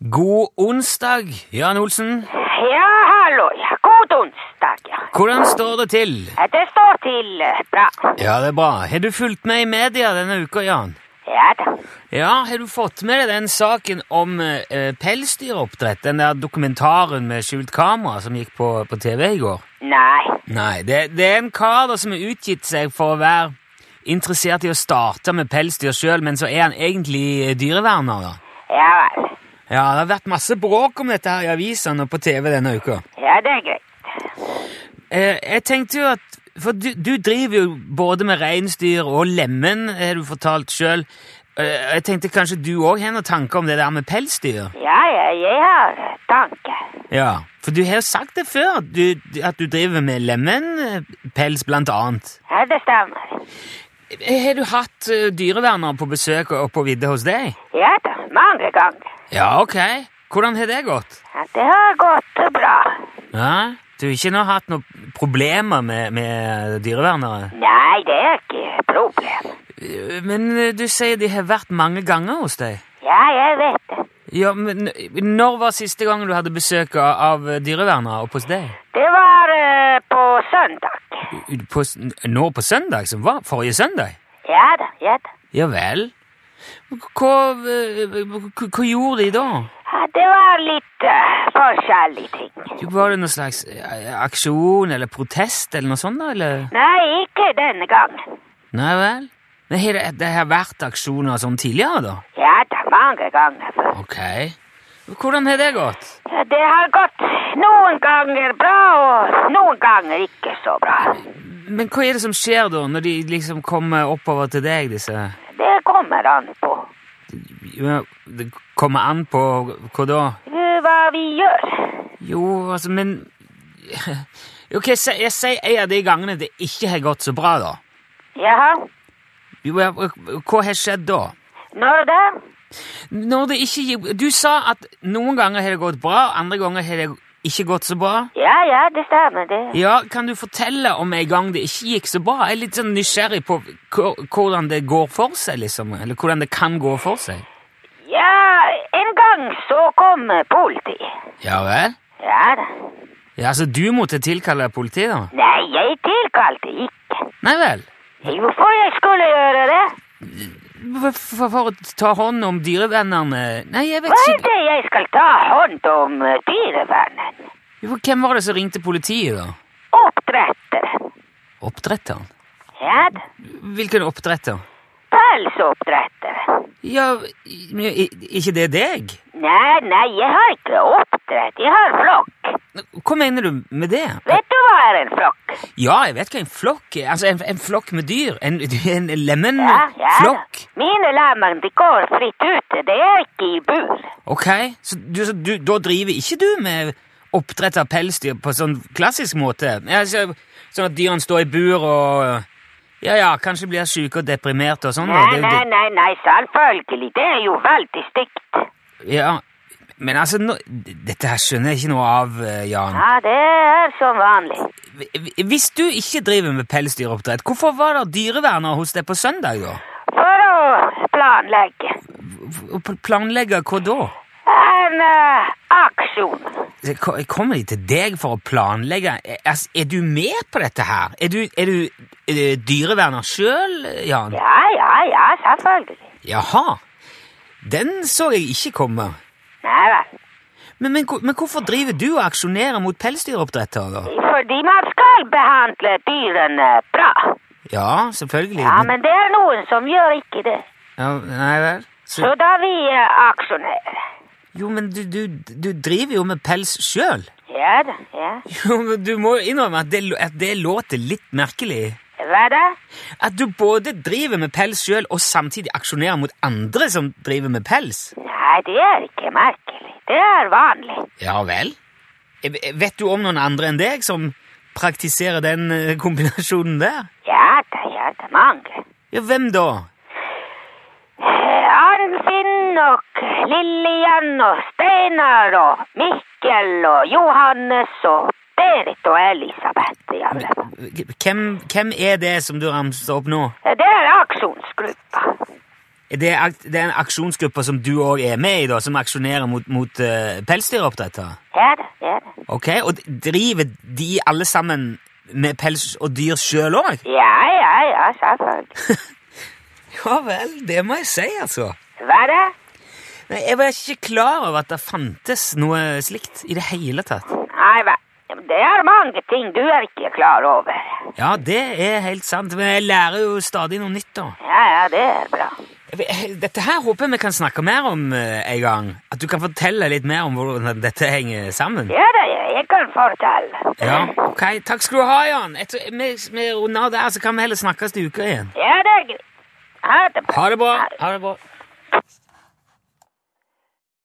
God onsdag, Jan Olsen. Ja, hallo, ja. God onsdag, ja. Hvordan står det til? Ja, Det står til eh, bra. Ja, det er bra. Har du fulgt med i media denne uka, Jan? Ja da. Ja, har du fått med deg den saken om eh, pelsdyroppdrett? Den der dokumentaren med skjult kamera som gikk på, på TV i går? Nei. Nei, det, det er en kar da som har utgitt seg for å være interessert i å starte med pelsdyr sjøl, men så er han egentlig eh, dyreverner, da. Ja vel. Ja, det har vært masse bråk om dette her i avisene og på TV denne uka. Ja, det er greit. Eh, jeg tenkte jo at For du, du driver jo både med reinsdyr og lemen, har du fortalt sjøl. Eh, jeg tenkte kanskje du òg har noen tanker om det der med pelsdyr? Ja, ja, jeg har tanke. Ja, For du har jo sagt det før, at du, at du driver med lemenpels, blant annet. Ja, det stemmer. Eh, Har du hatt eh, dyrevernere på besøk og på vidde hos deg? Ja da, mange ganger. Ja, ok. Hvordan har det gått? Ja, det har gått bra. Ja, Du har ikke nå hatt noen problemer med, med dyrevernere? Nei, det er ikke problem. Eh, Men eh, du sier de har vært mange ganger hos deg? Ja, jeg vet det. Ja, men n- Når var siste gang du hadde besøk av av dyrevernere oppe hos deg? Det var eh, på søndag. U- På, s- n- nå på søndag? som var Forrige søndag? Ja da, ja da. Ja vel. Hva, eh, hva, hva gjorde de da? Ja, det var litt eh, forskjellige ting. Var det noen slags eh, aksjon eller protest eller noe sånt? da, eller? Nei, ikke denne gangen. Nei vel. Men har det, det har vært aksjoner og sånn tidligere, da? Ja da, mange ganger før. Ok. Hvordan har det gått? Ja, Det har gått noen ganger bra og noen ganger ikke så bra. Men hva er det som skjer da, når de liksom kommer oppover til deg, disse Det kommer an på Ja, Det kommer an på hva da? eh, hva vi gjør. Jo, altså, men Ok, se- jeg sier en av de gangene det ikke har gått så bra, da. Jaha, Jo, ja, Hva har skjedd da? når da? Når det ikke Du sa at noen ganger har det gått bra, andre ganger har det ikke gått så bra. Ja, ja, det stemmer det. Ja, Kan du fortelle om en gang det ikke gikk så bra? Jeg er litt sånn nysgjerrig på hva- hvordan det går for seg, liksom. Eller hvordan det kan gå for seg. Ja, en gang så kom politiet. Ja vel? Ja da. Ja, Så du måtte tilkalle politiet, da? Nei, jeg tilkalte ikke. Nei vel? Hvorfor jeg skulle gjøre det? For, for, for å ta hånd om dyrevennerne Nei, jeg vet Hva ikke er det jeg skal ta hånd om eh, dyrevernet? Jo, Hvem var det som ringte politiet, da? Oppdretteren. Oppdretteren? Ja da. Hvilken oppdretter? Pelsoppdretteren. Ja, i- men i- ikke det deg? Nei, nei, jeg har ikke oppdrett. Jeg har flokk. Hva mener du med det? Vet du hva er en flokk? Ja, jeg vet hva en flokk er. Altså, en, en flokk med dyr. En, en da. lemenflokk. Mine lammer de går fritt ute. De er ikke i bur. Ok, så, du, så du, da driver ikke du med oppdrett av pelsdyr på sånn klassisk måte? Ja, så, sånn at dyrene står i bur og Ja ja, kanskje blir syke og deprimerte og sånn? da. Det er Nei, jo nei, det- nei, nei, selvfølgelig. Det er jo veldig stygt. Ja, men altså, nå, dette her skjønner jeg ikke noe av, eh, Jan. Ja, det er som vanlig. Hvis du ikke driver med pelsdyroppdrett, hvorfor var det dyreverner hos deg på søndag, da? For å planlegge Og pl- Planlegge hva da? en eh, aksjon. Ko- Kommer de til deg for å planlegge? Er, altså, er du med på dette her? Er du, er du, er du dyreverner sjøl, Jan? Ja, ja, ja, selvfølgelig. Jaha. Den så jeg ikke komme. Nei vel. Men, men, hvor- men hvorfor driver du og aksjonerer mot pelsdyroppdrettere, da? Fordi man skal behandle dyrene bra. Ja, selvfølgelig. Ja, men det er noen som gjør ikke det. ja, Nei vel. Så- Så da vi eh, aksjonerer. Jo, men du, du, du driver jo med pels sjøl. Ja da, ja. Jo, men du må jo innrømme at det, at det låter litt merkelig. Hva da? At du både driver med pels sjøl, og samtidig aksjonerer mot andre som driver med pels. Nei, det er ikke merkelig. Det er vanlig. Ja vel? Eh, Vet du om noen andre enn deg som praktiserer den eh, kombinasjonen der? Ja da, ja da, mange. Ja, hvem da? Eh, Arnfinn og Lillian og Steinar og Mikkel og Johannes og Berit og Elisabeth. Ja, vel. Hvem, hvem er det som du ramser opp nå? det er Eh, aksjonsgruppa. Det er, ak- det er en aksjonsgruppe som du òg er med i, da, som aksjonerer mot, mot eh, pelsdyroppdretter? Det er det. det er det. Ok, Og d- driver de alle sammen med pels og dyr sjøl òg? Ja, ja, ja, selvfølgelig. Ja vel, det må jeg si, altså. Hva er det? Nei, Jeg var ikke klar over at det fantes noe slikt i det hele tatt. Nei, hva? Det er mange ting du er ikke klar over. Ja, det er helt sant, men jeg lærer jo stadig noe nytt, da. Ja, ja, det er bra. Jeg- Dette her håper jeg vi kan snakke mer om eh, en gang. At du kan fortelle litt mer om hvordan dette henger sammen. Ja da, ja, jeg kan fortelle. Ja, ok. Takk skal du ha, Jan. Etter, vi, vi runder av der, så kan vi heller snakkes til uka igjen. Ja, det er greit. Ha det bra. Ha det bra. Ha det bra.